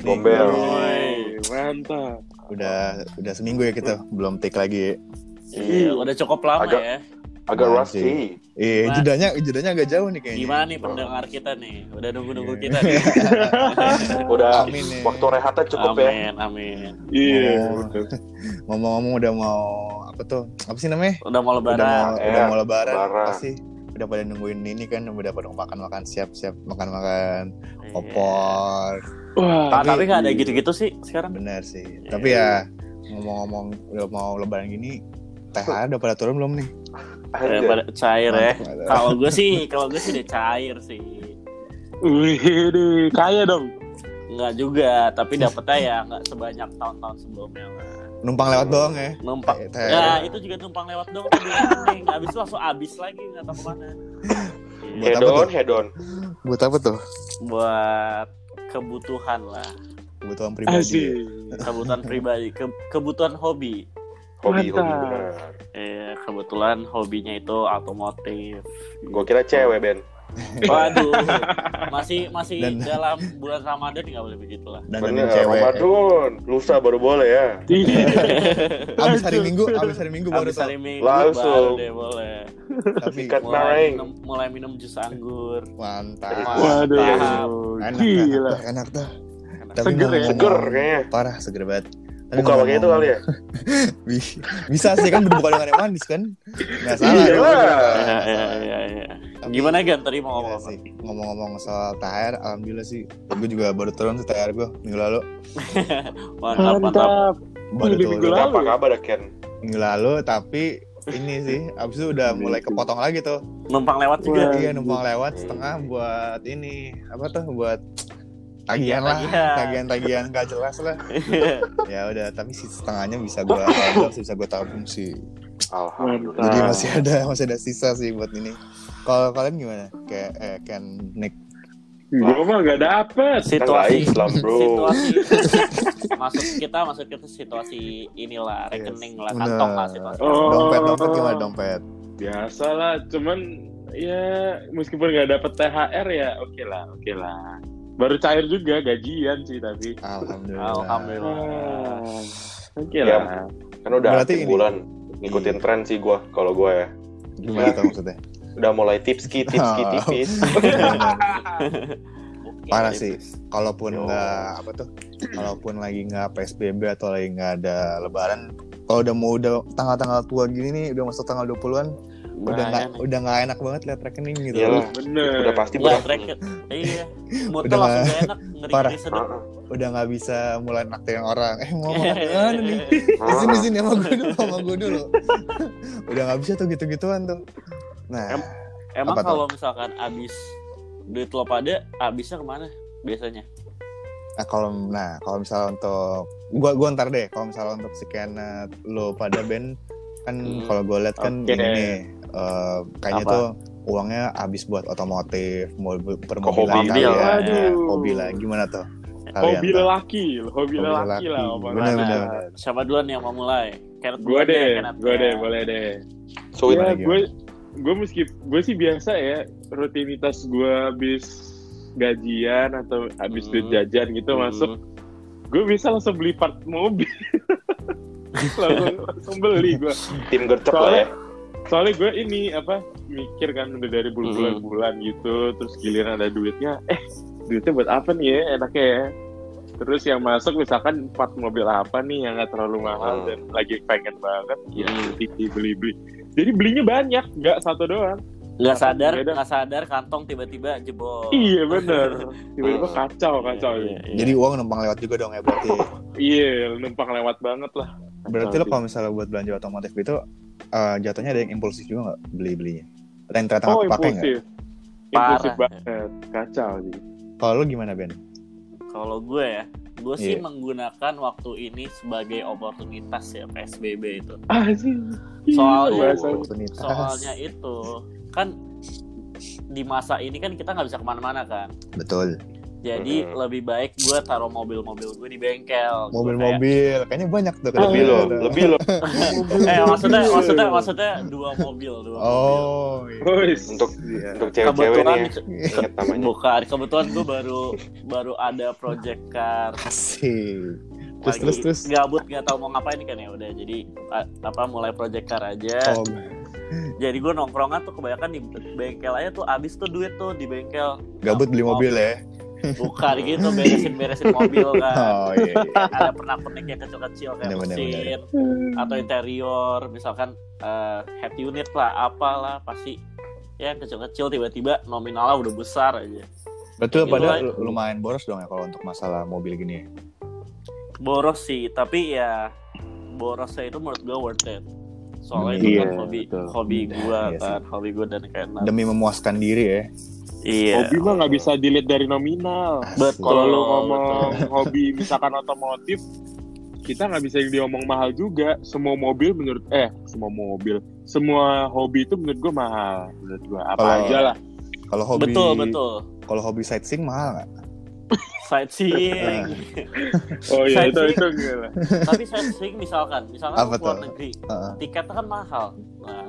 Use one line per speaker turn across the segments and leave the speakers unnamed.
Gombel.
Woi, mantap.
Udah udah seminggu ya kita belum take lagi. ya.
Iya, udah cukup lama
Agak-
ya.
Agak
Masih.
rusty.
Iya,
Wah.
jedanya jedanya agak jauh nih kayaknya.
Gimana nih pendengar kita nih? Udah nunggu-nunggu kita nih.
Udah
Amin, ya.
waktu rehatnya cukup ya.
amin, amin.
Iya,
Iya.
Ngomong-ngomong udah mau apa tuh? Apa sih namanya?
Udah mau
Udah mau,
lebaran.
Eh,
udah mau lebaran,
lebaran.
pasti udah pada nungguin ini kan udah pada makan-makan siap-siap makan-makan
Iya.
opor
Ah,
Tapi-
tapi Iya. nggak ada gitu-gitu sih sekarang.
bener sih tapi ya ngomong-ngomong udah mau lebaran gini THR udah pada turun belum nih
Eh,
Anjay.
pada cair ya.
Mantap, mantap.
Kalau gue sih, kalau gue sih udah cair sih.
Wih, kaya dong.
Nggak juga, tapi dapetnya ya nggak sebanyak tahun-tahun sebelumnya. lah.
numpang lewat doang ya
Numpang.
THR
Ya itu juga numpang lewat dong. tuh di samping. Habis itu langsung habis lagi nggak tahu kemana. Iya.
Buat
Head
apa
on,
tuh?
head on.
buat apa tuh
Buat kebutuhan lah,
kebutuhan pribadi
Asik.
Iya, kebutuhan pribadi, ke- kebutuhan hobi.
Hobi, hobi
Mantap.
bener.
Eh, kebetulan hobinya itu otomotif.
Gue kira cewek, Ben.
Waduh, masih masih
Iya. Dan-
dalam bulan Ramadan nggak boleh begitu lah.
dan
Bener,
cewek
Ramadan. Lusa baru boleh ya.
Iya.
abis hari minggu abis hari minggu baru
Abis
tuh
hari minggu
Langsung.
baru deh boleh.
tapi
Sikat
Mulai
nareng.
minum, mulai minum jus anggur.
mantap
Waduh.
Mantap.
enak
Gila.
gila enak tuh
Enak.
tapi
Seger ya?
ngomong-
Seger kayaknya.
parah seger banget Tapi
Buka
ngomong-
pakai itu kali ya.
Bi- bisa sih kan berbuka dengan air manis kan nggak salah
Iya
dong.
lah.
Iya,
Nggak
iya,
salah.
iya, iya.
Tapi-
Gimana Gan tadi mau
Gila
ngomong apa?
Iya sih. Ngomong-ngomong soal THR, alhamdulillah sih. Gue juga baru turun sih THR gue minggu lalu.
Mantap, mantap.
Mantap.
Baru
Minggu
turun
lalu.
Apa kabar dah, Ken?
minggu lalu, tapi ini sih abis itu udah mulai kepotong lagi tuh.
Numpang lewat juga.
Wah.
Iya numpang lewat setengah buat ini apa tuh buat tagihan lah,
Tagihan.
tagihan-tagihan gak jelas lah. Ya udah, tapi si setengahnya bisa gue bisa gue tabung sih.
Alhamdulillah.
Jadi
Ah.
masih ada masih ada sisa sih buat ini. Kalau kalian gimana? Kayak eh, Ken Nick
Gue mah gak dapet.
situasi
Kita Kan nggak Islam, bro.
situasi maksud kita maksud kita situasi inilah
Yes.
rekening lah
Bener.
kantong lah situasi
Oh.
dompet dompet gimana dompet?
Biasa lah, cuman ya meskipun gak dapet THR ya oke lah, oke lah. Baru cair juga gajian sih tapi.
Alhamdulillah. Iya.
alhamdulillah
Wah, Oke
Ya.
lah.
Kan udah
Berarti
aktif
ini. Iya.
bulan ngikutin tren sih gua kalau gua ya.
Gimana tuh maksudnya?
Udah mulai tipski tipski
Oh.
tipis.
Parah sih. Kalaupun
Yo.
nggak apa tuh, kalaupun lagi nggak PSBB atau lagi nggak ada Lebaran, kalau udah mau udah tanggal-tanggal tua gini nih, udah masuk tanggal 20-an, udah nggak
Bahaya nih. Iya.
udah nggak enak banget lihat rekening gitu.
Iyalah.
Bener.
Udah pasti
Nggak,
berat.
rekening iya mood
Iya, Udah
tuh langsung gak enak ngeri
Parah.
ngeri sedap
Heeh.
Udah nggak bisa mulai naktirin orang. Eh mau makan gimana nih? Eh, sini sini sama gue dulu, sama gue dulu. udah nggak bisa tuh gitu-gituan tuh. Nah,
Em- emang
Apa tuh?
kalau misalkan abis duit lo pada abisnya kemana biasanya
nah kalau nah kalau misalnya untuk gua gua ntar deh kalau misalnya untuk sekian lo pada band kan
Hmm.
kalau gue lihat kan
Oke.
ini nih eh, kayaknya
Apa?
tuh uangnya habis buat otomotif mobil
hobi.
permobilan kalian
Mobil.
Aduh.
hobi lah gimana tuh
Hobi
tuh?
lelaki, hobi
Hobi
lelaki lah omongan.
bener
Nah,
bener
siapa duluan yang mau mulai Kenneth
Gue
duluan
deh,
ya, Kenneth
gue
ya.
deh, boleh deh.
Sulit.
Gimana,
ya,
gimana?
gue gue meski gue sih biasa ya rutinitas gue habis gajian atau habis
Hmm.
duit jajan gitu
Hmm.
masuk gue bisa langsung beli part mobil langsung, langsung beli gue
Tim gercep lah ya.
soalnya soalnya gue ini apa mikir kan udah dari
Mm-hmm.
berbulan-bulan gitu terus giliran ada duitnya eh duitnya buat apa nih ya enaknya ya terus yang masuk misalkan part mobil apa nih yang nggak terlalu
Mm.
mahal
Hmm.
dan lagi pengen banget ya
Hmm.
beli beli beli jadi belinya banyak nggak satu doang
nggak sadar
Beda.
nggak sadar kantong tiba-tiba jebol
Iya bener Tiba-tiba
Hmm.
kacau kacau
Mm. Iya, iya.
jadi uang numpang lewat juga dong ya berarti
Iya numpang lewat banget lah
berarti lo kalau misalnya buat belanja otomotif itu eh, jatuhnya ada yang impulsif juga nggak beli belinya dan ternyata
Oh
nggak kepake nggak
impulsif Impulsif
Parah.
banget Kacau sih
kalau lo gimana Ben
Kalau gue ya, gue sih
Iya.
menggunakan waktu ini sebagai oportunitas ya PSBB itu.
Ah sih
Soalnya-
Bahasa-
Oportunitas.
Soalnya itu kan di masa ini kan kita nggak bisa kemana-mana kan.
betul
Jadi
Mhm.
lebih baik gue taruh mobil-mobil gue di bengkel. Gua
Mobil-mobil, kayaknya banyak tuh.
Lebih
kayak
lo,
gitu.
lebih lo.
kayak- Eh maksudnya maksudnya maksudnya dua mobil dua mobil.
Oh, iya.
Untuk-
iya.
Untuk cewek-cewek
Kebetulan
nih ya. Ingat namanya.
bukan kebetulan gue baru baru ada project car
Asik. Terus,
lagi
terus, terus.
gabut nggak tahu mau ngapain kan ya udah jadi a- apa mulai project car aja
Oh,
jadi gue nongkrongnya tuh kebanyakan di bengkel aja tuh abis tuh duit tuh di bengkel
gabut beli mobil ya.
bukan gitu beresin beresin mobil kan
Oh, iya. iya.
ada pernak-pernik yang kecil-kecil
Bener,
kayak
bener,
mesin atau interior misalkan eh, head unit lah apalah pasti ya kecil-kecil tiba-tiba nominalnya udah besar aja
Betul,
Gitu
padahal
lah.
lu- lumayan boros dong ya kalau untuk masalah mobil gini. ya.
boros sih tapi ya borosnya itu menurut gue worth it soalnya itu
Iya,
kan hobi
betul.
hobi gue
Hmm, Iya
kan hobi gue dan kena
Demi memuaskan diri ya.
iya
Hobi mah nggak bisa dilihat dari nominal.
Betul.
Kalau lu
Betul.
ngomong hobi misalkan otomotif, kita nggak bisa diomong mahal juga. Semua mobil menurut eh semua mobil, semua hobi itu menurut gua mahal. Menurut gua apa
Kalau-
aja lah.
Kalau hobi
betul betul
kalau hobi sightseeing mahal nggak?
sightseeing
Oh
iya,
iya
itu-
itu
itu
itu
tapi sightseeing misalkan misalkan
Apa
lu keluar
tuh?
negeri
Heeh.
tiketnya kan mahal nah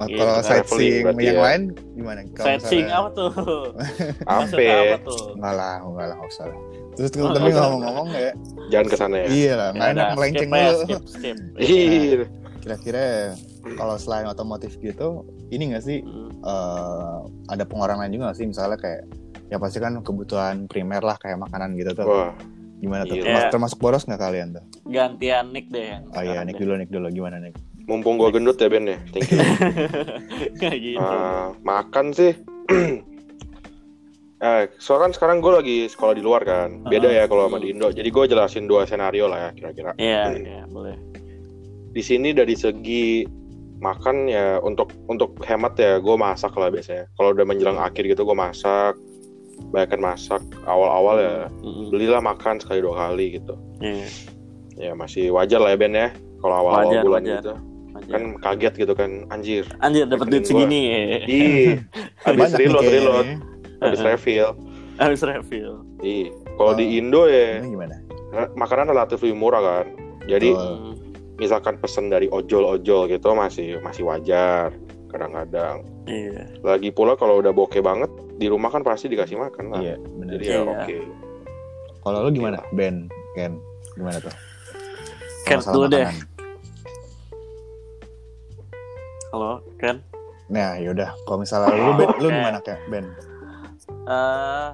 Ah,
Iya,
kalau
traveling
sightseeing
berarti
yang
ya.
lain gimana? Kalau
sightseeing
misalnya-
apa tuh Maksudnya apa
Ampe,
tuh
Enggak lah, enggak lah, enggak usah lah. Terus terus
Oh,
tapi
enggak.
ngomong-ngomong ya,
jangan ke sana ya.
iya lah, nggak
Ya
enak
udah,
melenceng
skip aja,
dulu.
skip skip
Iya.
Kira-kira kalau selain otomotif gitu, ini nggak sih
Hmm.
eh, ada pengurangan juga nggak sih misalnya kayak ya pasti kan kebutuhan primer lah kayak makanan gitu tuh.
Wah,
Gimana tuh?
Iya.
Termas- Termasuk boros nggak kalian tuh?
gantian Nick deh
Oh iya,
ya.
Nick dulu, Nick dulu. Gimana Nick?
mumpung gua gendut ya Ben ya. Thank you.
kayak gitu
Eh, makan sih. Eh, soalnya kan sekarang gue lagi sekolah di luar kan. Beda ya kalau sama di Indo. Jadi gue jelasin dua senario lah ya kira-kira.
iya iya boleh
Di sini dari segi makan ya untuk untuk hemat ya gue masak lah biasanya. Kalau udah menjelang akhir gitu gue masak. Bahkan masak awal-awal ya
Mm-mm.
belilah makan sekali dua kali gitu.
Iya,
Ya masih wajar lah ya Ben ya. Kalau awal-awal
Wajar,
bulan
wajar. Ya.
gitu
lanjut.
kan kaget gitu kan anjir.
Anjir dapat duit
Gua-
segini.
Ih, habis
Banyak nih
reload,
kayaknya
reload,
ya.
habis refill.
Habis refill.
Ih, kalau di
Oh.
Indo ya
Ini gimana?
Karena makanan relatif lebih murah kan. Jadi
Betul.
Mm.
misalkan pesen dari ojol-ojol gitu masih masih wajar kadang-kadang.
Iya.
Lagi pula kalau udah bokeh banget di rumah kan pasti dikasih makan lah.
Iya, benar.
Jadi
Iya.
ya oke.
Kalau lu gimana? Ben, Ken, gimana tuh?
Ken
Masalah
dulu deh.
makanan.
Halo, Ken.
Nah, yaudah. Kalau misalnya lu, Ben, lu
Oke.
gimana kayak Ben?
Eh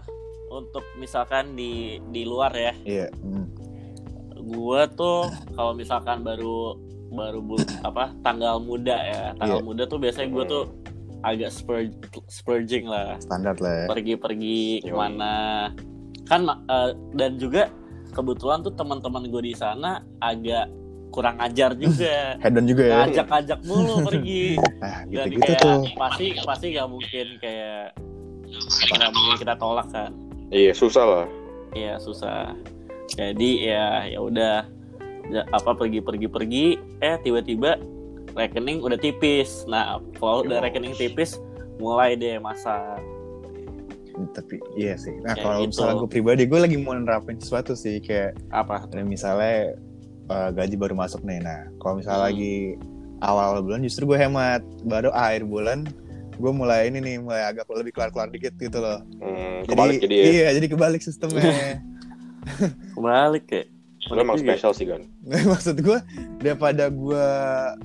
untuk misalkan di di luar ya,
Iya. hmm.
gua tuh kalau misalkan baru baru bu- apa tanggal muda ya, tanggal muda tuh biasanya gua tuh agak spurge- spurging lah.
standar lah ya.
Yoi.
pergi-pergi kemana kan ma- eh, dan juga kebetulan tuh teman-teman gue di sana agak kurang ajar juga
Hedon juga ya.
ngajak-ngajak mulu pergi
Nah,
dan
gitu-gitu
kayak
tuh.
pasti pasti nggak mungkin kayak nggak mungkin kita tolak kan
Iya, susah lah.
Iya susah. Jadi ya ya udah Ja- apa pergi-pergi-pergi eh tiba-tiba rekening udah tipis. Nah, kalau
Yo.
udah rekening tipis mulai deh masak.
Tapi iya sih. Nah,
Kayak
kalau
gitu.
misalnya gue pribadi, gue lagi mau nerapin sesuatu sih. Kayak
Apa?
misalnya eh, gaji baru masuk nih. Nah, kalau misalnya
Hmm.
lagi awal-awal bulan justru gue hemat. Baru akhir bulan gue mulai ini nih mulai agak lebih keluar-keluar dikit gitu loh.
Hmm, kebalik jadi, ya.
iya, jadi kebalik sistemnya.
Kebalik ya.
Lu emang
Kebalik juga.
spesial sih kan.
Nggak, maksud gue daripada gue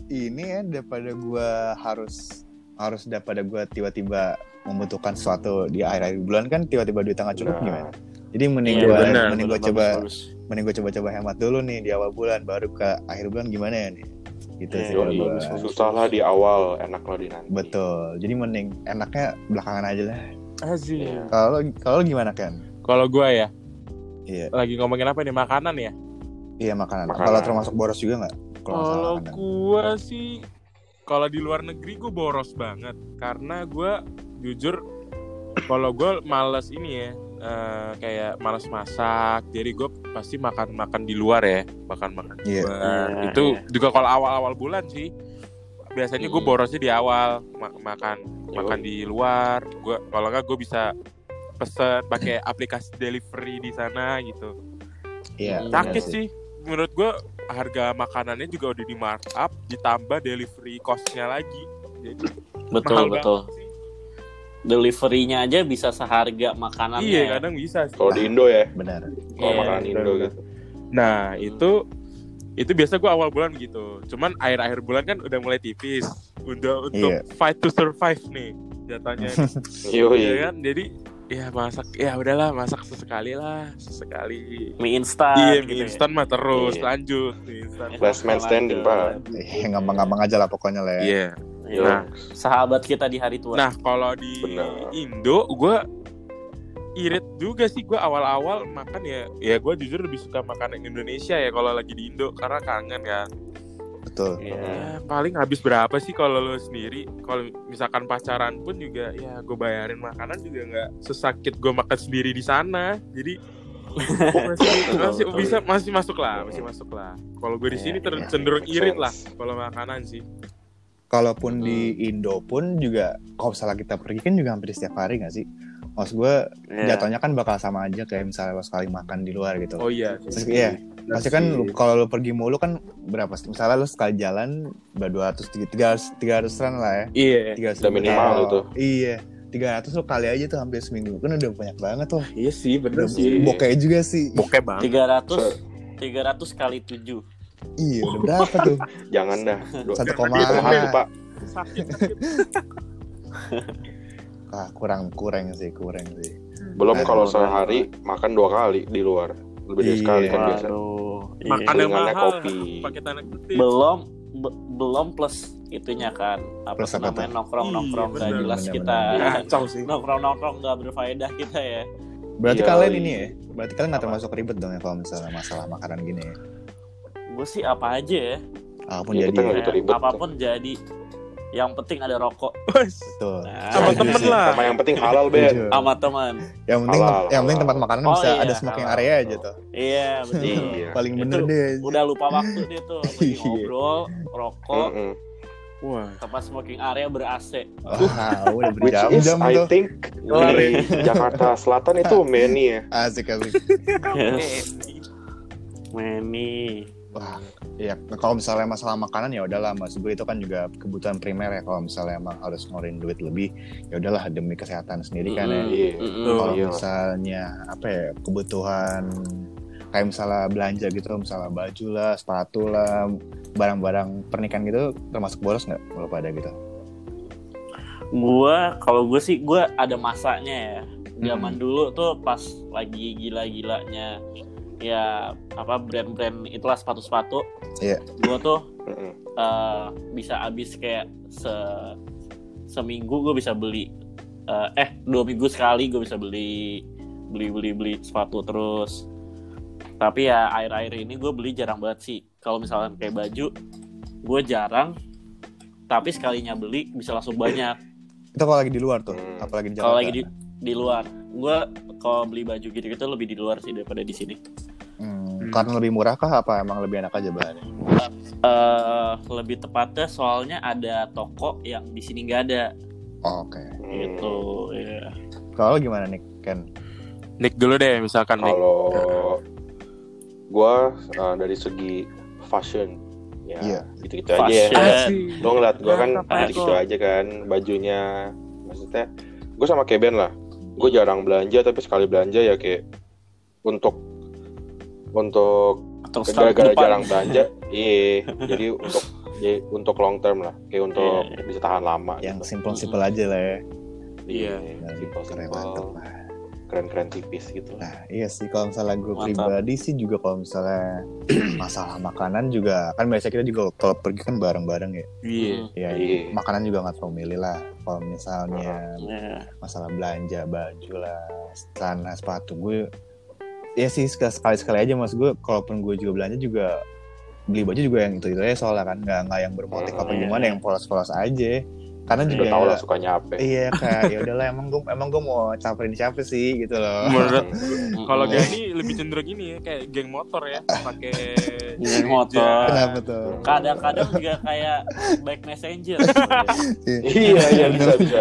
ini ya daripada gue harus harus daripada gue tiba-tiba membutuhkan sesuatu di akhir akhir bulan kan tiba-tiba duit tengah cukup gimana
Nah,
jadi mending
Iya,
gue
benar.
mending gue
Bagus,
coba
bagus.
mending gue coba-coba hemat dulu nih di awal bulan baru ke akhir bulan gimana ya nih gitu
Iya,
sih
yoi.
kalau gua.
bagus, bagus.
susah lah di awal, enak lah di nanti.
betul jadi mending enaknya belakangan aja lah
Iya.
kalau kalau gimana kan
Kalau gua ya,
Iya.
lagi ngomongin apa nih makanan ya?
iya makanan,
Makanan.
kalau termasuk boros juga nggak kan kalau masalah
Kalau
makanan
gua sih kalau di luar negeri gua boros banget karena gua jujur kalau gua males ini ya eh, kayak males masak jadi gua pasti makan makan di luar ya makan makan di
Iya.
luar
Iya,
itu
iya.
juga kalau awal awal bulan sih biasanya gua
Hmm.
borosnya di awal ma- makan makan di luar gua kalau nggak gua bisa
pesen pakai aplikasi delivery di sana gitu
Iya.
sakit
bener
sih menurut gue harga makanannya juga udah di markup ditambah delivery costnya lagi jadi mahal
betul
kan?
banget
betul
sih.
deliverynya aja bisa seharga makanannya
iya
ya.
kadang bisa sih
Kalau
Nah.
di Indo ya,
Benar.
kalau
Iya.
makanan Indo
bener-bener.
gitu.
Nah itu itu biasa gue awal bulan gitu. Cuman akhir-akhir bulan kan udah mulai tipis. Udah untuk
Iya.
fight to survive nih jatuhnya.
Yo
Iya kan? Jadi ya masak ya udahlah masak sesekali lah sesekali.
mie instan
iya
gitu
mie
ya.
instan mah terus
Iya.
lanjut mie instan.
Iya.
Last man standing, Pak.
Eh, Gampang-gampang aja lah pokoknya lah. ya.
Iya.
Iya.
kan?
Nah.
sahabat kita di hari tua
Nah kalau di
Benar.
Indo gue irit juga sih gue awal-awal makan ya ya gue jujur lebih suka makanan Indonesia ya kalau lagi di Indo karena kangen kan
Betul.
Hmm. nah.
Iya.
Ya, paling habis berapa sih kalau lo sendiri? Kalau misalkan pacaran pun juga ya gue bayarin makanan juga nggak sesakit gue makan sendiri di sana. Jadi masih, masih
betul.
bisa masih masuk lah, masih masuk lah. Kalau gue di sini
Iya,
ter-
iya.
cenderung
Make
irit
sense.
lah kalau makanan sih.
Kalaupun di Indo pun juga kalau misalnya kita pergi kan juga hampir setiap hari gak sih? Maksud gue
Iya.
jatuhnya kan bakal sama aja kayak misalnya lo sekali makan di luar gitu.
Oh iya.
Terus, iya. Pasti kan lu- kalau lu pergi mulu kan berapa sih? Misalnya lu sekali jalan berapa 200 300 300-an lah ya.
Iya.
300
Udah minimal
ribu.
itu.
Iya. 300 lu kali aja tuh hampir seminggu kan udah banyak banget tuh.
Iya sih
Udah
bener
sih.
bokeh juga sih.
Bokeh banget.
tiga ratus tiga ratus kali tujuh
Iya, udah berapa tuh?
Jangan dah. Dua-
Satu
Jangan
koma
Itu mahal, Pak.
Sakit.
ah, kurang kurang sih, kurang sih.
Belum
Nah,
kalau
kalau
sehari makan dua kali di luar. Lebih dari
Iya.
sekali kan biasa.
Waduh, iya.
Makan yang
Hitungannya
mahal.
kopi.
Pakai tanah putih.
belum be- belum plus itunya kan apa
Plus
sih
apa
namanya
tuh?
nongkrong nongkrong
Iya,
nggak
benar,
jelas
benar,
kita
benar.
Kacau sih.
nongkrong nongkrong nggak berfaedah kita ya
Berarti
Iya,
kalian
iya.
ini ya, berarti kalian nggak termasuk ribet dong ya kalau misalnya masalah makanan gini ya.
gue sih apa aja ya
Apapun
Iya,
jadi
kita
ya.
nggak gitu
Kayak
ribet.
Nah, apapun jadi yang penting ada rokok
Wes.
Betul.
Nah,
Sama
Setuju
temen
sih.
lah.
Sama yang penting halal, Ben.
Setuju.
sama teman
Yang penting
Iya, Halal,
yang penting
halal.
tempat makanan
Oh
bisa
iya,
ada smoking
halal.
area aja tuh.
iya betul
Iya.
Paling
Itu
bener deh.
udah lupa waktu deh tuh lagi
Iya.
ngobrol
Oh.
rokok
Mm-mm.
Wah.
tempat smoking area ber AC
Wah, Ya, udah
Which is,
berjam-jam
I
tuh.
think,
Kelar
di Jakarta Selatan itu many ya.
Asik asik.
Eh,
Meni
Wah, ya kalau misalnya masalah makanan ya udahlah mas gue itu kan juga kebutuhan primer ya kalau misalnya emang harus ngorin duit lebih ya udahlah demi kesehatan sendiri kan ya.
Mm-mm.
Iya.
Mm-mm.
Kalau
Iya.
misalnya apa ya kebutuhan kayak misalnya belanja gitu misalnya baju lah, sepatu lah, barang-barang pernikahan gitu termasuk boros nggak kalau pada gitu?
gua kalau gue sih gua ada masanya ya zaman
Mm.
dulu tuh pas lagi gila-gilanya ya apa brand-brand itulah sepatu-sepatu
Iya.
gua tuh
Mm-mm.
eh, bisa habis kayak se seminggu gue bisa beli eh, eh dua minggu sekali gue bisa beli beli beli beli sepatu terus tapi ya air-air ini gue beli jarang banget sih kalau misalnya kayak baju gue jarang tapi sekalinya beli bisa langsung banyak
Itu kalau lagi di luar tuh,
Hmm.
apalagi di Jakarta.
kalau lagi di di luar gue kalau beli baju gitu-gitu lebih di luar sih daripada di sini
Hmm, Karena lebih murah kah apa emang lebih enak aja bahannya?
eh lebih tepatnya soalnya ada toko yang di sini nggak ada
Oh, Oke.
Mm.
gitu ya
Kalau gimana nih Ken?
Nick dulu deh misalkan Nick.
Mm. Kalau gue dari segi fashion, ya
Iya.
gitu-gitu aja. ya.
Fashion.
Lo ngeliat gue kan
Mantap,
Pak.
gitu-gitu aja kan bajunya, maksudnya gue sama kayak Ben lah. Gue jarang belanja tapi sekali belanja ya kayak untuk untuk
atau start ke
gara-gara
depan.
jarang belanja, iya. Jadi untuk jadi untuk long term lah, kayak untuk bisa tahan lama.
Yang
gitu.
simple-simple aja lah ya.
Iya,
Nah, keren mantep
simple-simple,
lah.
keren-keren tipis gitu.
Nah, iya sih kalau misalnya gue
Mantap.
pribadi sih juga kalau misalnya masalah makanan juga kan biasa kita juga kalau pergi kan bareng-bareng ya.
Iya.
Ya,
Iya.
makanan juga nggak terlalu milih lah. Kalau misalnya
Iya.
masalah belanja baju lah, celana, sepatu gue ya sih sekali sekali aja mas gue kalaupun gue juga belanja juga beli baju juga yang itu itu aja soalnya kan nggak nggak yang bermotif apa
Hmm,
iya.
gimana yang polos-polos aja karena
Udah
juga
tau lah sukanya
Nah,
apa.
iya kak ya udahlah emang gue emang gue mau caperin siapa sih gitu
Iya.
loh
Menurut
Hmm.
kalau
geng
Gani lebih cenderung ini ya, kayak geng motor ya, pakai
motor.
kenapa tuh
Hmm. kadang-kadang juga kayak back messenger
iya iya bisa bisa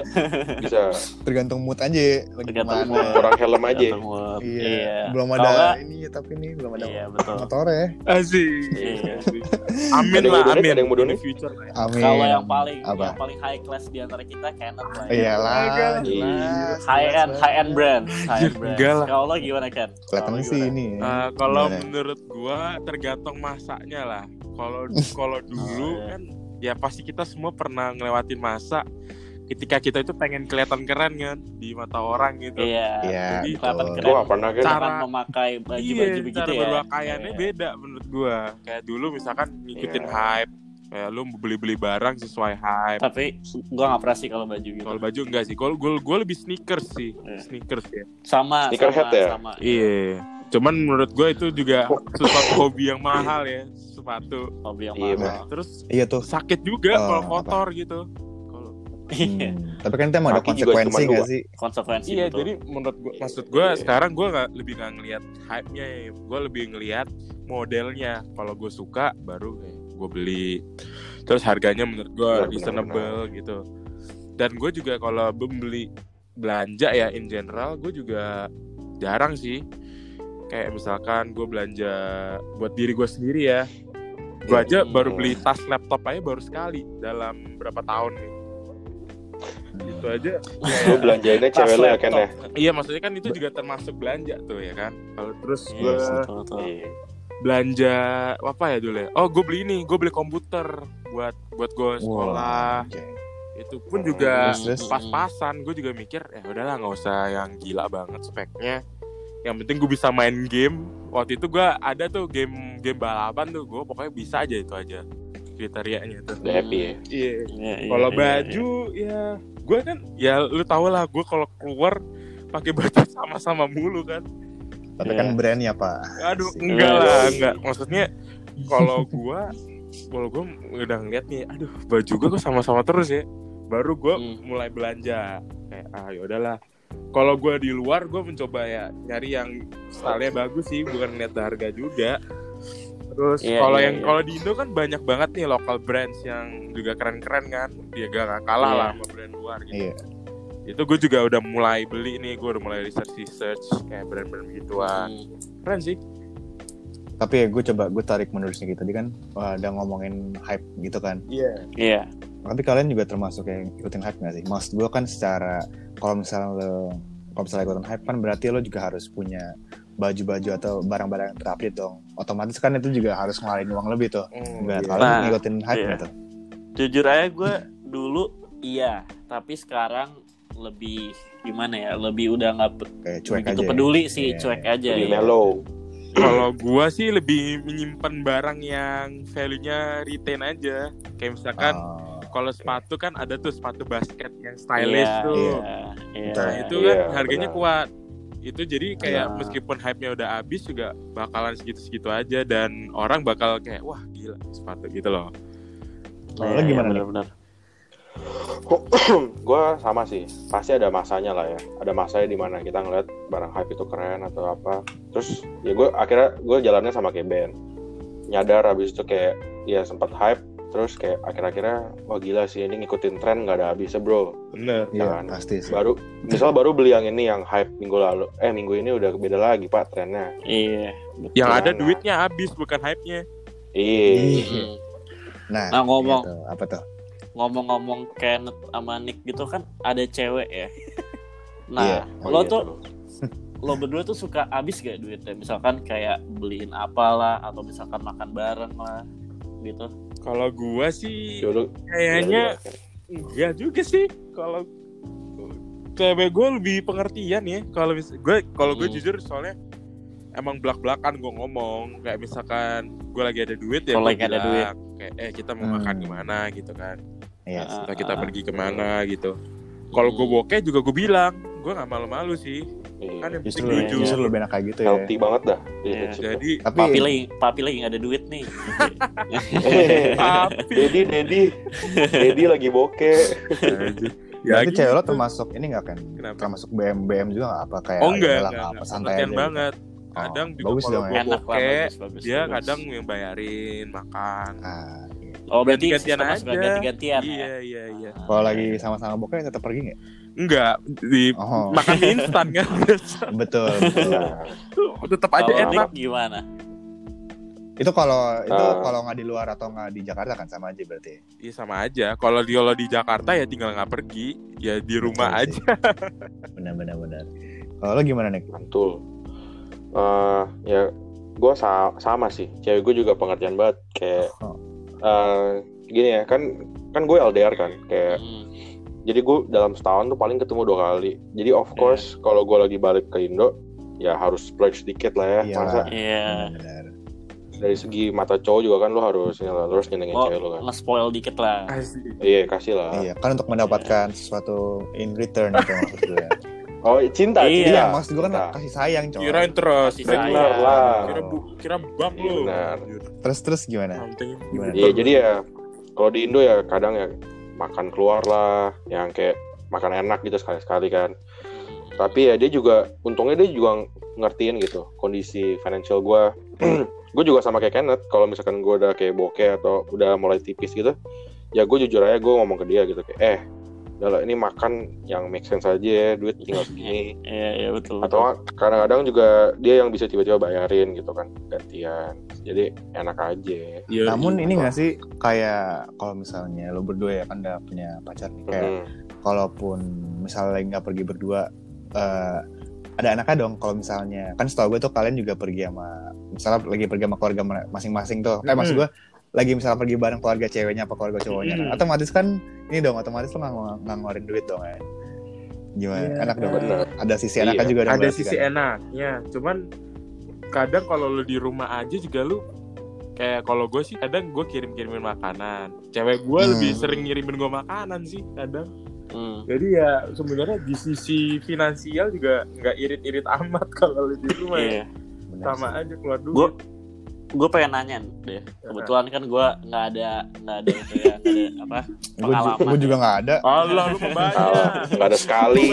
bisa
tergantung mood aja lagi
Tergantung
kemana.
mood.
kurang helm aja.
Datang web.
Iya.
iya
Belum
Kalau
ada
nggak-
ini tapi ini belum ada
iya betul
motor ya.
Asik.
Iya.
Amin
Ada yang
lah,
mau donate?
amin.
Ada yang mau donate?
In the future lah ya.
Amin.
kalau yang paling
apa?
yang paling high class di antara kita Canon lah ya.
Iyalah,
Iya.
jelas,
high
jelas,
end high end
jelas.
brand high end
Anjir,
brand
enggak lah.
kalau lo gimana Ken
Kelihatan
Kalau lo
sih
Oh, gimana?
ini. ya.
Eh, kalau
Gimana?
menurut gua tergantung masaknya lah. Kalau kalau dulu
iya.
kan ya pasti kita semua pernah ngelewatin masa ketika kita itu pengen kelihatan keren kan di mata orang gitu.
iya
Iya,
Jadi
kelihatan
betul.
keren.
Gue gak pernah kan.
Cara-
Dengan memakai baju-baju
Iya,
begitu
cara
ya
berpakaiannya beda menurut gua. Kayak dulu misalkan ngikutin
Iya.
hype, ya lu beli-beli barang sesuai hype.
tapi gua nggak pernah sih kalau baju gitu
Kalau baju enggak sih. Kalau gua gua lebih sneakers sih.
Iya.
Sneakers ya.
sama
Sneakerhead
sama,
ya?
sama
Iya. Cuman menurut gua itu juga sesuatu hobi yang mahal ya, sepatu.
hobi yang
Iya,
mahal
Terus
Iya tuh.
sakit juga
Oh,
kalau kotor gitu. Kalau-
iya
Hmm. Tapi kan itu emang ada
Kaki juga cuma
konsekuensi gak
dua.
sih?
konsekuensi
Iya,
betul.
jadi menurut gua maksud gua sekarang gua nggak lebih nggak ngelihat hype-nya, ya. gua lebih ngelihat modelnya. Kalau gua suka baru eh, gua beli. Terus harganya menurut gua
Benar, benar,
reasonable gitu. Dan gua juga kalau membeli belanja ya in general gua juga jarang sih. Kayak misalkan gua belanja buat diri gua sendiri ya. Gua aja
Hmm.
baru beli tas laptop aja baru sekali dalam berapa tahun nih. Itu aja
Lu belanjainnya cewek lu ya Ken ya.
Iya maksudnya kan itu juga termasuk belanja tuh ya kan. Kalau terus
Iya,
gue
betul, betul.
Iya.
belanja apa ya dulu ya? Oh gue beli ini, gue beli komputer buat buat gue sekolah.
Oke.
Itu
Iya.
pun juga
Nah, Terus, terus.
pas-pasan. Gue juga mikir ya udahlah nggak usah yang gila banget speknya. Yang penting gue bisa main game. Waktu itu gue ada tuh game game balapan tuh gue pokoknya bisa aja itu aja kriterianya tuh.
Udah happy ya.
Iya.
Iya, iya,
Kalau
iya,
baju ya gue kan ya lu tau lah gue kalau keluar pakai baju sama-sama mulu kan.
Tapi
Iya.
kan brandnya pak.
Aduh
Asik.
enggak
Iya,
lah
sih.
enggak maksudnya kalau gua kalau gua udah ngeliat nih aduh baju gua kok sama-sama terus ya baru gua
Hmm.
mulai belanja kayak ah yaudahlah kalau gua di luar gua mencoba ya nyari yang stylenya bagus sih bukan ngeliat harga juga terus
Iya,
kalau
iya,
yang
iya.
kalau di Indo kan banyak banget nih local brands yang juga keren-keren kan dia gak, gak kalah
Iya.
lah sama brand luar gitu
Iya.
itu gue juga udah mulai beli nih gue udah mulai research research kayak brand-brand gituan
Hmm.
keren sih
Tapi ya gue coba gue tarik menurut sedikit tadi kan wah, ada ngomongin hype gitu kan.
iya
Iya.
Tapi kalian juga termasuk yang ikutin hype gak sih? Maksud gue kan secara kalau misalnya lo kalau misalnya ikutin hype kan berarti lo juga harus punya baju-baju atau barang-barang yang terupdate dong. Otomatis kan itu juga harus ngeluarin uang lebih tuh.
Oh,
Enggak,
iya.
kalian
Nah,
ngikutin hype gitu.
iya.
nggak tuh?
Jujur aja gue dulu iya, tapi sekarang lebih gimana ya? Lebih udah nggak pe-
Kayak cuek
begitu
aja.
peduli sih,
Iya.
cuek aja.
Jadi
ya.
mellow.
Kalau gua sih lebih menyimpan barang yang value-nya retain aja. Kayak misalkan
Oh.
kalau sepatu kan ada tuh sepatu basket yang stylish
Iya,
tuh.
Iya. iya.
Betul.
Nah, itu
Iya,
kan harganya
benar.
kuat. Itu jadi kayak
Iya.
meskipun hype-nya udah habis juga bakalan segitu-segitu aja dan orang bakal kayak wah gila sepatu gitu loh.
Kalau lo gimana
Iya, iya,
nih?
benar-benar.
gue sama sih pasti ada masanya lah ya ada masanya di mana kita ngeliat barang hype itu keren atau apa terus ya gue akhirnya gue jalannya sama kayak band nyadar abis itu kayak ya sempat hype terus kayak akhir-akhirnya wah gila sih ini ngikutin tren nggak ada habisnya bro
Bener.
Iya,
Jangan.
pasti sih.
baru misal baru beli yang ini yang hype minggu lalu eh minggu ini udah beda lagi pak trennya
Iya.
Yang
Iya,
ada
nah.
duitnya habis bukan hype-nya.
iya
Iya. Nah,
Hmm. Nah, ngomong-
iya tuh, apa tuh?
Ngomong-ngomong Kenneth sama Nick gitu kan ada cewek ya.
Iya.
Nah,
Oh,
lo
iya,
tuh lo berdua tuh suka habis gak duitnya? Misalkan kayak beliin apalah atau misalkan makan bareng lah gitu.
Kalau gua sih
dulu kan.
kayaknya
iya.
Enggak Iya juga sih kalau cewek gue lebih pengertian ya kalau mis gue kalau gue
Hmm.
jujur soalnya emang belak belakan gue ngomong kayak misalkan gue lagi ada duit ya
Kalau
gue
lagi ada
bilang, kayak eh kita mau
Hmm.
makan kemana gitu kan
Iya.
Ah,
atau kita
ah, Hmm.
pergi kemana gitu kalau gue bokeh juga gue bilang gue nggak malu-malu sih
Iya.
kan yang
justru ya,
penting
Setuju.
justru lebih enak kayak gitu ya
healthy banget dah Iya,
Iya.
chip.
jadi
tapi
Papi lagi, papi lagi nggak ada duit nih.
tapi
Dedi Dedi Dedi lagi bokeh
ya
Nah, tapi
gitu.
cewek lo termasuk ini nggak kan
kenapa
termasuk BM BM juga nggak apa kayak
oh enggak,
yalah,
enggak,
nggak
enggak.
apa santai
Pengertian
aja
banget
gitu.
kadang
Oh,
juga
bagus
kalau
dong
gua
ya
Enak lah,
Oke,
bagus, bagus,
dia
bagus.
kadang yang bayarin makan
Ah, iya.
Oh berarti
gantian
sistemnya
aja.
suka ganti-gantian ya?
iya iya iya
kalau lagi sama-sama bokeh tetap pergi nggak
enggak di
oh
makan mie instan kan
betul, betul.
nah
tetap aja
Oh.
Kalau
enak
Nick gimana?
itu kalau itu
Ah.
kalau nggak di luar atau nggak di Jakarta kan sama aja berarti
Iya sama aja. Kalau di kalau di Jakarta ya tinggal nggak pergi, ya di rumah
Iya
aja.
benar benar benar kalau lo gimana nih
mantul Eh, ya gue sama sih cewek gue juga pengertian banget kayak
Oh.
eh, gini ya kan kan gue LDR kan kayak
Hmm.
jadi gue dalam setahun tuh paling ketemu dua kali jadi
Iya.
of course kalau gue lagi balik ke Indo ya harus splurge dikit lah ya
Iya.
masa
Iya.
benar
dari segi mata cowok juga kan lo harus ini lah, lo harus nyenengin
Oh,
cewek lo kan
nge-spoil dikit lah.
Asik.
iya kasih lah
iya kan untuk mendapatkan sesuatu in return itu maksud gue ya.
oh cinta
Iya.
cinta
iya maksud gue kan Iya.
cinta.
kasih sayang coy
Kirain terus.
Kasih
Kirain
sayang.
lah.
Wow.
Kira bu- kira bang
Iya,
lu.
benar.
terus terus gimana
Something.
Gimana?
Iya jadi ya kalau di Indo ya kadang ya makan keluar lah yang kayak makan enak gitu sekali-sekali kan. Tapi ya dia juga untungnya dia juga ngertiin gitu kondisi financial gua gue juga sama kayak Kenneth kalau misalkan gue udah kayak bokeh atau udah mulai tipis gitu ya gue jujur aja gue ngomong ke dia gitu kayak eh udah lah, ini makan yang make sense aja ya duit tinggal segini
Iya, iya betul. betul.
atau kadang-kadang juga dia yang bisa tiba-tiba bayarin gitu kan gantian jadi enak aja
Iya.
namun ini nggak sih kayak kalau misalnya lo berdua ya kan udah punya pacar nih kayak
Mhm.
Mm-hmm.
kalaupun misalnya nggak pergi berdua eh, ada anaknya dong kalau misalnya kan setahu gue tuh kalian juga pergi sama misalnya lagi pergi sama keluarga mere- masing-masing tuh eh
Mm-hmm.
maksud gue lagi misalnya pergi bareng keluarga ceweknya apa keluarga cowoknya kan
Mm.
otomatis kan ini dong otomatis lo nggak nggak- nggak ngeluarin duit dong ya gimana
Iya.
enak dong
Bener.
ada sisi enaknya
Iya.
juga dong
Ada
berarti
sisi
kan?
enaknya, cuman kadang kalau lu di rumah aja juga lu kayak kalau gue sih kadang gue kirim-kirimin makanan. Cewek gue
Hmm.
lebih sering ngirimin gue makanan sih kadang.
Hmm.
Jadi ya sebenarnya di sisi finansial juga nggak irit-irit amat kalau lu di rumah. ya.
Iya.
Bener
Sama
sih.
aja keluar duit.
Gue gue pengen nanya deh.
Iya.
Kebetulan kan gue nggak ada nggak ada itu ya, nggak ada apa
Gua ju-
pengalaman.
gua juga nggak ada
Allah lu mau banyak.
Salah, nggak ada sekali.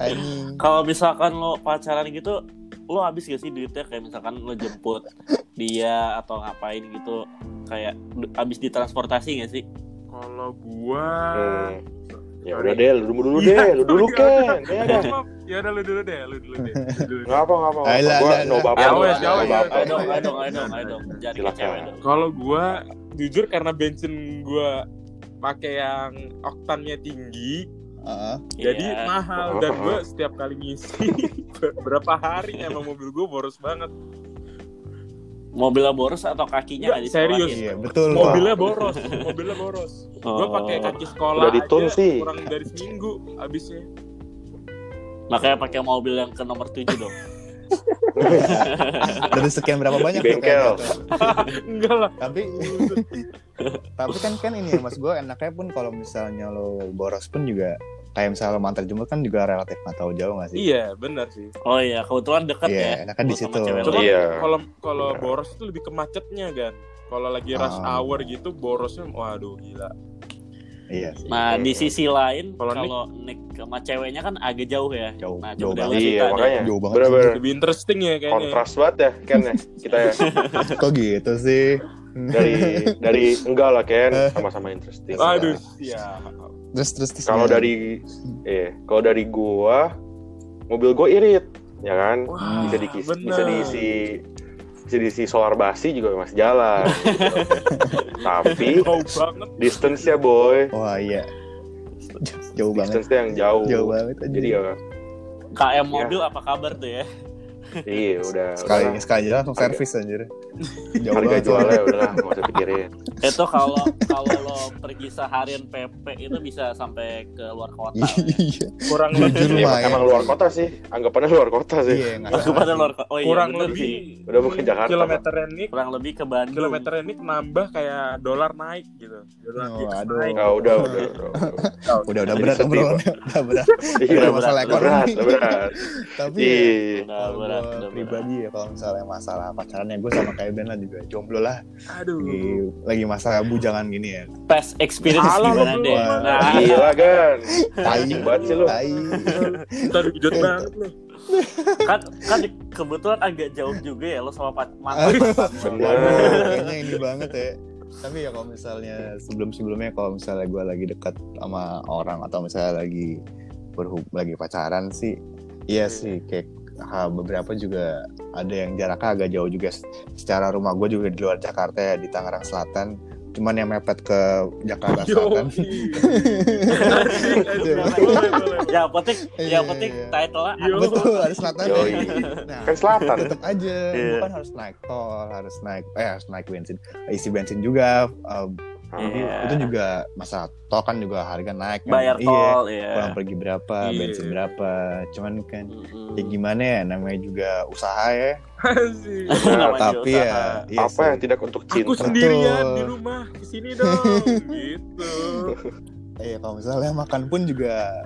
anjing
Kalau misalkan lo pacaran gitu, lo habis gak sih duitnya kayak misalkan lo jemput dia atau ngapain gitu kayak du- habis di transportasi gak sih?
Kalau gua
Hmm. Ya udah
Sorry.
deh, lu dulu dulu
Iya,
deh, lu dulu
sorry,
kan.
sorry.
Ya dah.
Ya udah lu dulu deh, lu dulu deh. Lu dulu deh.
Enggak apa enggak apa.
Ayolah,
Gua
ayolah,
no
ayolah.
baper.
Ayo,
no
ayo,
baper. Iya,
ayo,
Ayo dong, ayo dong, ayo dong, ayo dong. Jangan ke
Silakan.
cewek dong.
Kalau gua jujur karena bensin gua pakai yang oktannya tinggi,
Heeh.
jadi
Iya.
mahal dan gua setiap kali ngisi ber- berapa hari emang mobil gua boros banget.
mobilnya boros atau kakinya nggak
Nggak,
disekolahin?
serius.
iya betul kok.
Mobilnya boros, mobilnya boros. Gua
Oh.
pakai kaki sekolah
Udah ditun
aja
sih.
kurang dari seminggu habisnya.
Makanya pakai mobil yang ke nomor 7 dong.
dari sekian berapa banyak
Di
tuh kayaknya
bengkel.
tuh.
Enggak lah.
tapi tapi kan kan ini ya mas gue enaknya pun kalau misalnya lo boros pun juga kayak misalnya lo mantar jemput kan juga relatif nggak tahu jauh nggak sih
Iya, benar sih.
Oh iya, kebetulan deket
Iya,
ya.
enakan di
Lu sama
situ.
cewek lu.
Cuman
Iya.
kalau kalau
Bener.
boros itu lebih ke macetnya kan. Kalau lagi rush
Ah.
hour gitu borosnya waduh gila.
iya sih.
Nah, di sisi lain
Kalau
kalau Nick sama ceweknya kan agak jauh ya.
jauh
Nah,
jauh
coba
banget
deh.
Iya,
Kita
makanya.
jauh banget.
Bener-bener
Lebih interesting ya kayaknya.
kontras banget ya Ken ya kita ya
kok gitu sih
dari dari enggak lah Ken sama-sama interesting.
Aduh, siap.
terus terus, terus
Kalau
gimana?
dari eh kalau dari gua mobil gua irit ya kan
Wah,
bisa diisi
bener.
bisa diisi bisa diisi solar basi juga masih jalan gitu. tapi
Jauh banget.
distance-nya boy
wah iya jauh banget Iya.
distance-nya yang jauh,
jauh banget anjir.
Iya.
jadi ya
KM mobil apa kabar tuh ya?
iya udah
sekali
udahlah.
sekali aja langsung
Harga-
servis anjir jauh
harga
banget
jualnya udahlah nggak usah pikirin
itu kalau kalau lo pergi seharian PP itu bisa sampai ke luar kota.
iya
kurang
Jujur
Iya,
lebih
lumayan.
emang luar kota sih anggapannya luar kota sih
iya nggak
Aku
salah
pada luar kota. Oh iya,
kurang
bener
lebih
sih.
Udah bukan Jakarta,
kilometer ini
kurang lebih ke Bandung.
kilometer ini nambah kayak dolar naik gitu dolar
Oh,
kita
aduh.
naik.
Nah, udah udah udah, udah.
udah udah
Jadi
berat
sedih,
bro
Pak.
udah berat
Iya,
Udah
berat,
masalah
udah berat
ekonomi.
udah berat
tapi ya,
iya
Udah
kalau
berat,
gua
udah berat.
pribadi ya kalau misalnya masalah pacarannya gue sama kayak Ben lah juga jomblo lah
aduh
lagi,
Hmm.
lagi masalah bujangan gini ya
Past experience
Salah lo
gimana
belum,
deh?
Bang.
Nah,
gila kan
tai
Anjing banget sih lu.
tai
kita jujur banget loh
kan kan kebetulan agak jauh juga ya lo sama pat- mantan.
Iya.
Bener.
Waduh, kayaknya ini banget ya tapi ya kalau misalnya sebelum-sebelumnya kalau misalnya gue lagi dekat sama orang atau misalnya lagi berhub lagi pacaran sih iya sih kayak ah, beberapa juga ada yang jaraknya agak jauh juga secara rumah gue juga di luar Jakarta ya di Tangerang Selatan cuman yang mepet ke Jakarta Selatan
Ya, yang penting yang penting
Iya.
title-nya
Yo.
betul ada selatan
Yoi.
nah
kan selatan
tetap aja
Iya.
bukan harus naik tol harus naik eh harus naik bensin isi bensin juga eh,
Hmm.
Iya.
itu juga masalah tol kan juga harga naik kan.
bayar
Iya,
tol ya.
pulang pergi berapa
Iya.
bensin berapa cuman kan
Mm-mm.
ya gimana ya namanya juga usaha ya
Asik.
Namanya
tapi
usaha.
ya iya
apa
sih.
yang tidak untuk
aku
cinta
sendirian
Betul.
di rumah kesini dong gitu
Iya kalau misalnya makan pun juga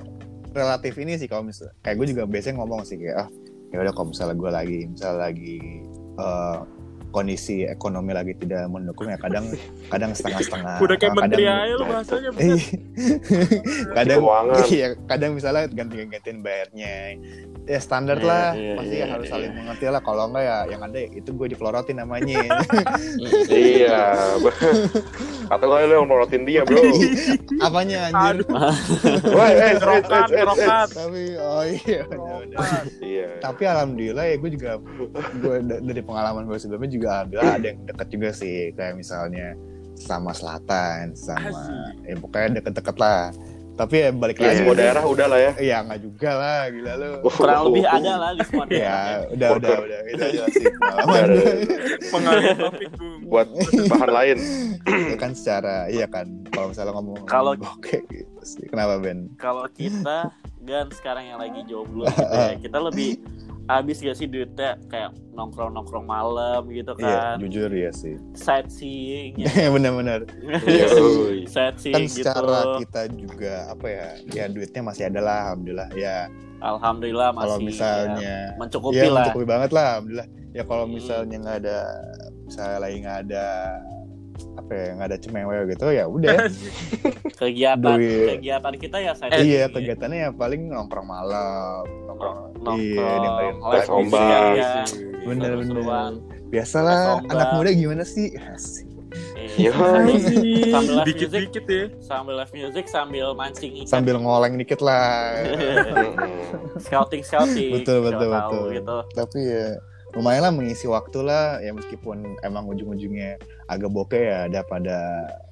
relatif ini sih kalau misalnya kayak gue juga biasanya ngomong sih kayak ah ya udah kalau misalnya gue lagi misalnya lagi eh, kondisi ekonomi lagi tidak mendukung ya kadang kadang setengah-setengah
udah kayak
kadang-
menteri aja lo bahasanya
Iya. kadang
Keuangan.
iya kadang misalnya ganti-gantiin bayarnya ya standar
Iya,
lah
iya,
pasti
iya,
harus
iya.
saling mengerti lah kalau enggak ya yang ada itu gue diplorotin namanya
iya atau kali lu yang melorotin dia bro
Iya. apanya anjir
aduh
wah eh eh, eh,
kerokan
eh, eh.
kerokan
tapi oh iya udah-udah.
iya
tapi alhamdulillah ya gue juga gue da- dari pengalaman gue sebelumnya juga alhamdulillah ada yang deket juga sih kayak misalnya sama selatan sama ya
Asik.
pokoknya deket-deket lah tapi ya balik
Ya,
lagi
semua daerah udah lah ya
ya nggak juga lah gila lu
kurang lebih ada lah di semua daerah.
ya udah udah udah itu aja sih
Udah,
pengalaman
udah,
gue.
udah.
pengalih topik bung
buat bahan lain
ya kan secara iya kan kalau misalnya ngomong
Kalau-
oke gitu sih kenapa Ben
Kalau kita kan sekarang yang lagi jomblo gitu ya, kita lebih habis gak sih duitnya kayak nongkrong-nongkrong malam gitu
iya
kan.
jujur ya sih
Sightseeing ya.
benar-benar Iya.
Yoi.
kan
Sightseeing gitu.
secara kita juga apa ya ya duitnya masih ada lah alhamdulillah ya
Alhamdulillah masih
kalau
ya,
misalnya
mencukupi
ya
lah.
mencukupi banget lah alhamdulillah ya kalau
Hmm.
misalnya nggak ada misalnya lagi nggak ada apa ya nggak ada cemewe gitu ya udah
Kegiatan
Duit.
kegiatan kita ya
Eh,
sightseeing.
iya kegiatannya ya paling nongkrong malam nongkrong iya dengerin
nongkrong,
Tes
ya.
ombak.
Iya,
Bener, bener.
Bener-bener.
biasalah
Nongkrong.
anak muda gimana sih Asik.
iya.
Yoi.
Sambil live
dikit
Iya, music.
dikit ya
sambil live music sambil mancing ikan
sambil ngoleng dikit lah
Mm-mm.
scouting scouting
Betul, betul, betul.
gitu
tapi ya lumayan lah mengisi waktu lah ya meskipun emang ujung-ujungnya agak bokeh ya daripada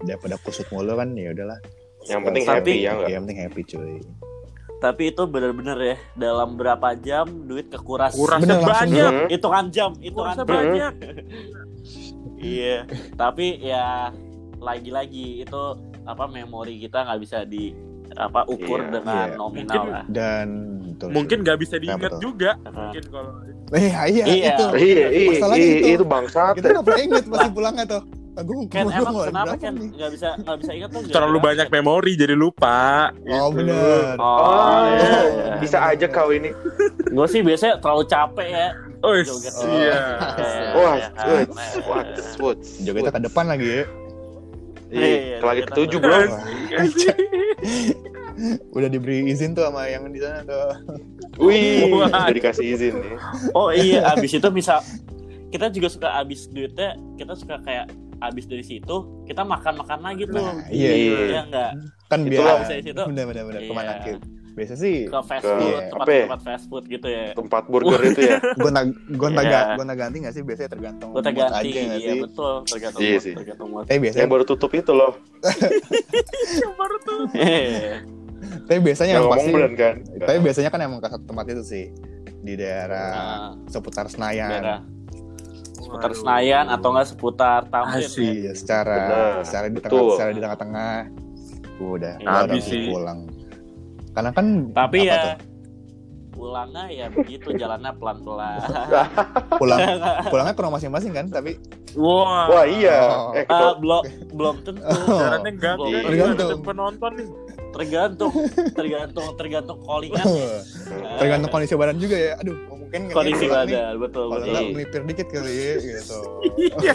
daripada kusut mulu kan ya udahlah
yang penting
Tapi-
happy ya enggak
yang penting happy cuy
tapi itu bener-bener ya dalam berapa jam duit kekuras
kurasa
Bener, langsung
banyak
hitungan jam hitungan
kurasa
jam
banyak
iya tapi ya lagi-lagi itu apa memori kita nggak bisa di apa ukur
Iya,
dengan
iya.
nominal
Mungkin-
lah
dan betul
mungkin nggak bisa diingat
Kenapa tuh?
juga
Karena
mungkin kalau
Eh, iya,
Iya.
itu
iya iya
Masalahnya gitu?
iya
itu.
itu bangsat
kita nggak pernah inget masih pulangnya tuh aku
Ken
gua-
emang
gua-
kenapa
berapa
Ken
nih?
nggak bisa nggak bisa ingat tuh gara-gara-
terlalu banyak memori jadi lupa
oh
Gitu.
bener
oh,
Oh,
iya.
bisa aja kau ini.
gue sih biasanya terlalu capek ya
oh
Joget.
iya
Oh.
Eh,
Wah,
ya kan?
wait,
Eh,
what, what,
jogetnya ke depan lagi ya
Iya, lagi
jogetan
ketujuh
ke-
bro.
Asik.
udah diberi izin tuh sama yang di sana tuh
Wih,
Wah.
udah dikasih izin nih.
Oh iya, abis itu bisa kita juga suka abis duitnya, kita suka kayak abis dari situ kita makan makan lagi tuh.
Nah, iya,
iya.
Iya enggak
kan
Itu
biar
lah,
bisa di situ.
bener bener bener kemana
Iya.
Ken? biasa sih
ke fast
Ke-
food,
Iya.
tempat
apa ya?
tempat fast food gitu ya.
Tempat burger itu ya.
gonta gonta
Iya.
ga- gonta ganti nggak sih biasanya tergantung
Gue
mood
terganti,
aja nggak
iya
sih
betul, tergantung
Iya
mood,
sih.
tergantung mood.
tapi biasanya
Yang baru tutup itu loh.
Iya.
tapi biasanya
Yang
yang
ngomong
pasti
bulan kan.
tapi biasanya kan emang ke satu tempat itu sih di daerah
Nah,
seputar Senayan.
daerah seputar Senayan atau enggak seputar Tamrin. kan?
Iya, secara
Benar,
secara di tengah
betul.
secara di tengah-tengah. Gua udah
Ya,
gua
habis
udah
sih.
pulang. Karena kan apa
Tapi ya
tuh?
pulangnya ya begitu jalannya pelan-pelan.
pulang pulangnya ke rumah masing-masing kan, tapi
Wah.
Wah iya.
Oh.
Eh,
Ah,
kalau-
belum belum tentu.
Caranya enggak
Oh,
tergantung.
penonton nih.
Tergantung tergantung tergantung callingan.
tergantung kondisi badan juga ya. Aduh, mungkin
kondisi
pulang nih,
badan Iya. betul
Kalau
betul.
nggak melipir dikit kali ya, gitu.
Iya.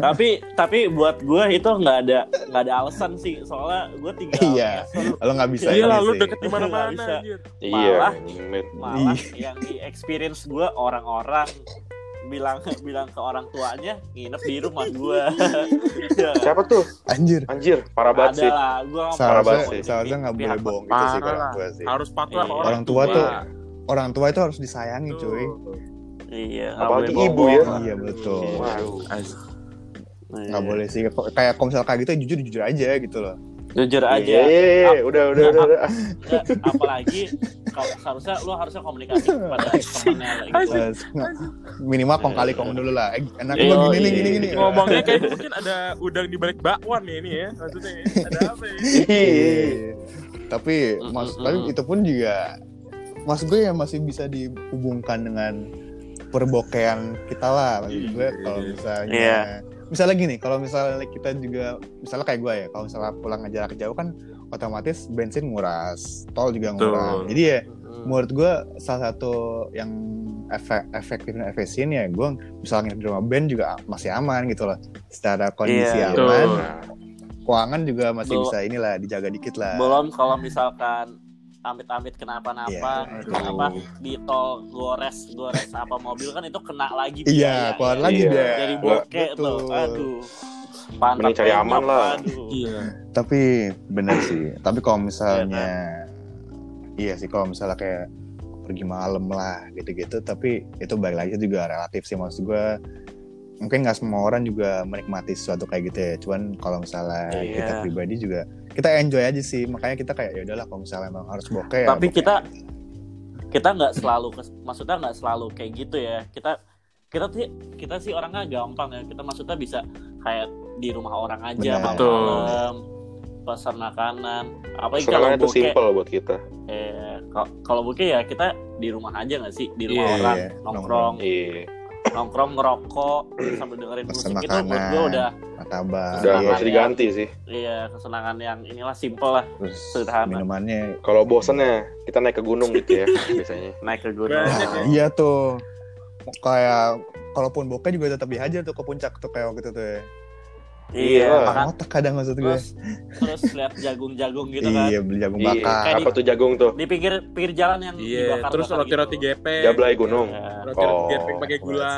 tapi tapi buat gue itu nggak ada nggak ada alasan sih soalnya gue tinggal
Iya.
ngesel.
Kalau nggak bisa ya, gitu.
Iya
ini
lah, lu
sih.
deket di
Nggak bisa.
mana-mana anjir.
iya.
malah-
Nyengit.
malah
Iya.
yang di experience gue orang-orang bilang bilang ke orang tuanya nginep di rumah gue
Siapa tuh?
Anjir.
Anjir, parah banget
ada
sih.
lah gue
Parah banget
Seharusnya
sih.
seharusnya nggak boleh bohong gitu
parah
sih kalau
lah.
gue sih.
Harus patuh sama
Iya.
orang
Orang tua
tua.
tuh orang tua itu harus disayangi
Tuh.
cuy.
iya nggak
Apalagi
boleh
ibu ya.
bohong.
Iya betul.
Waduh.
As-
Iya.
Nggak boleh sih Kok- kayak komsel kayak gitu jujur jujur aja gitu loh.
jujur aja
Iya, iya, iya. udah, udah, udah, udah.
Ya, apalagi kalau seharusnya lu harusnya komunikasi kepada temennya gitu
Eh, nggak- minimal kong kali kong dulu lah. Eh, enak
Iya,
gua gini nih
iya.
gini gini.
Ngomongnya kayak mungkin ada udang di balik bakwan ya ini ya. Maksudnya ada apa ya?
Ih,
Iya. Tapi
Mm,
mas
mm,
tapi
mm.
itu pun juga mas gue ya masih bisa dihubungkan dengan perbokean kita lah maksud gue
Iya.
kalau misalnya
Iya.
misalnya gini kalau misalnya kita juga misalnya kayak gue ya kalau misalnya pulang jarak jauh kan otomatis bensin nguras tol juga
Betul.
nguras jadi ya
Mm.
menurut gue salah satu yang efek efektif dan efisien ya gue misalnya di rumah band juga masih aman gitu loh secara kondisi
Iya.
aman
Betul.
keuangan juga masih
Belum-
bisa inilah dijaga dikit lah
belum kalau misalkan amit-amit kenapa-napa
Iya,
gitu, apa di tol gores gores apa mobil kan itu kena lagi
iya
biaya,
keluar
ya.
lagi
Iya.
dia
jadi
Wah,
bokeh
betul.
tuh aduh pantat
Mending cari
penyok,
aman lah.
aduh.
Iya.
tapi bener sih tapi kalau misalnya iya sih kalau misalnya kayak pergi malam lah gitu-gitu tapi itu balik lagi juga relatif sih maksud gue mungkin nggak semua orang juga menikmati sesuatu kayak gitu ya cuman kalau misalnya
Iya.
kita pribadi juga kita enjoy aja sih makanya kita kayak ya udahlah kalau misalnya emang harus bokeh ya
tapi
bokeh."
kita kita nggak selalu kes- maksudnya nggak selalu kayak gitu ya kita kita sih kita sih orangnya gampang ya kita maksudnya bisa kayak di rumah orang aja
Benar.
malam pesan makanan apa kalau
Sekarang itu
bokeh
simple buat kita.
Eh, kalau- kalau bokeh ya kita di rumah aja nggak sih di rumah
Iya,
orang
iya.
nongkrong
Iya.
nongkrong ngerokok sambil dengerin
Pesen
musik itu menurut
makanan.
gue udah
martabak
Udah
Iya.
nggak usah diganti sih.
iya kesenangan yang inilah simple lah
terus
sederhana.
minumannya
Kalau bosennya, kita naik ke gunung gitu ya biasanya.
naik ke gunung
Banyak ya.
Nah, iya tuh kayak kalaupun bokeh juga tetap dihajar tuh ke puncak tuh kayak waktu itu tuh ya.
Iya.
iya makan
Orang otak kadang maksud gue.
terus terus lihat jagung-jagung gitu kan
Iya beli jagung
Iya.
bakar.
Apa tuh jagung tuh?
di pinggir pinggir jalan yang
Iya,
dibakar gitu. Iya.
terus roti-roti gepeng.
Jablay gunung.
Roti-roti
Oh.
gepeng pakai gula.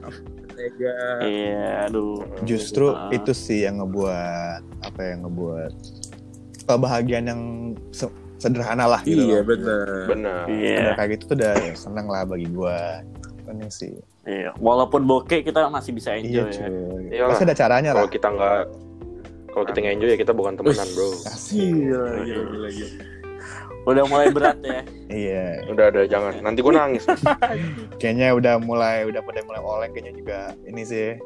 Mentega.
iya aduh
Justru
Ah.
itu sih yang ngebuat apa yang ngebuat kebahagiaan yang se- sederhana lah gitu.
Iya,
loh.
bener.
Benar.
Nah,
iya
kayak gitu tuh udah seneng lah bagi gua. Ini sih.
iya walaupun bokeh kita masih bisa
Iya
enjoy ya.
cuy.
Iyalah.
Pasti ada caranya lah.
Kalau kita nggak kalau kita nggak enjoy ya kita bukan temenan bro.
Kasih.
Iya.
Gila, gila, gila.
udah mulai berat ya
Iya.
Udah ada jangan. Nanti gue nangis.
Kayaknya udah mulai udah pada mulai oleng kayaknya juga ini sih.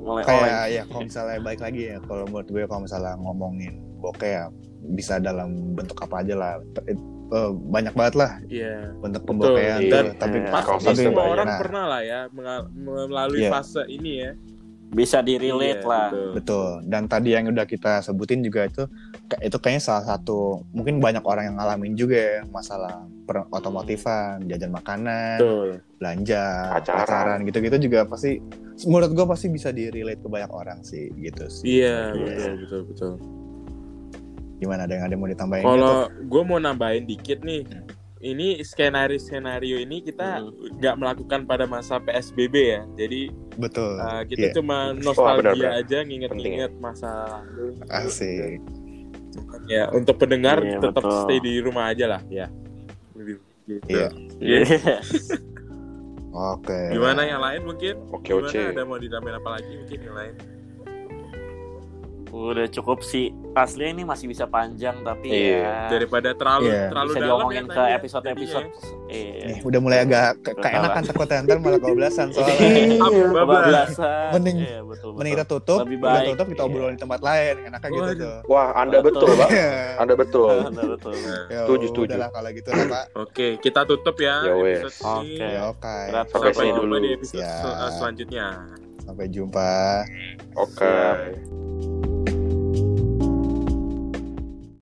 mulai oleng.
kayak ya kalau misalnya baik lagi ya kalau menurut gue kalau misalnya ngomongin bokeh ya bisa dalam bentuk apa aja lah T- it- eh, banyak banget lah
Iya.
bentuk
Betul,
pembokehan
iya.
tuh. gitu. tapi
Iya.
Pasti
Kalau
tapi-
sistem
semua orang
nah,
pernah lah ya mengal- melalui
Iya.
fase ini ya.
bisa di relate
Iya,
lah
betul.
betul dan tadi yang udah kita sebutin juga itu ke- itu kayaknya salah satu mungkin banyak orang yang ngalamin juga ya masalah per otomotifan jajan makanan
Betul.
belanja
Pacaran.
pacaran gitu-gitu juga pasti menurut gue pasti bisa di relate ke banyak orang sih gitu sih
Iya,
Iya.
betul, betul, betul.
gimana ada yang ada yang mau ditambahin
Kalau
gitu? Hmm.
gue mau nambahin dikit nih, ini skenario-skenario ini kita nggak melakukan pada masa PSBB ya. Jadi
betul
uh, kita
Iya.
cuma
benar,
nostalgia
benar.
aja nginget-nginget masa lalu.
asik
Ya, untuk pendengar
Iya,
tetap
betul.
stay di rumah aja lah ya. Gitu.
Iya.
Iya.
Oke.
Gimana yang lain mungkin?
Oke
Gimana
oke.
ada mau ditambahin apa lagi mungkin yang lain?
Udah cukup sih. Aslinya ini masih bisa panjang tapi
Iya.
ya
daripada terlalu
Iya.
terlalu
bisa
dalam
diomongin
ya
ke
tadi ya,
episode-episode. Iya.
Nih, Eh, udah mulai agak ke keenakan takutnya ntar malah kebablasan soalnya.
jadinya ya. Apa, bablas?
Kebablasan.
Mending-
Iya, betul, betul.
Mending kita tutup,
Lebih
kita
baik,
tutup kita
iya.
obrolin di tempat lain, enaknya gitu
Waduh.
tuh.
Wah, Anda
Betul.
betul, Pak.
Iya.
Anda betul.
Betul, betul.
Ya
Setuju, setuju.
udahlah kalau gitu lah Pak.
Oke, kita tutup ya.
Ya wes.
episode ini.
Oke.
Ya oke.
Berat.
Sampai
Sampai sini
jumpa
dulu.
di episode
Siap.
sel- selanjutnya.
Sampai jumpa.
Iya,
Oke.
Siap.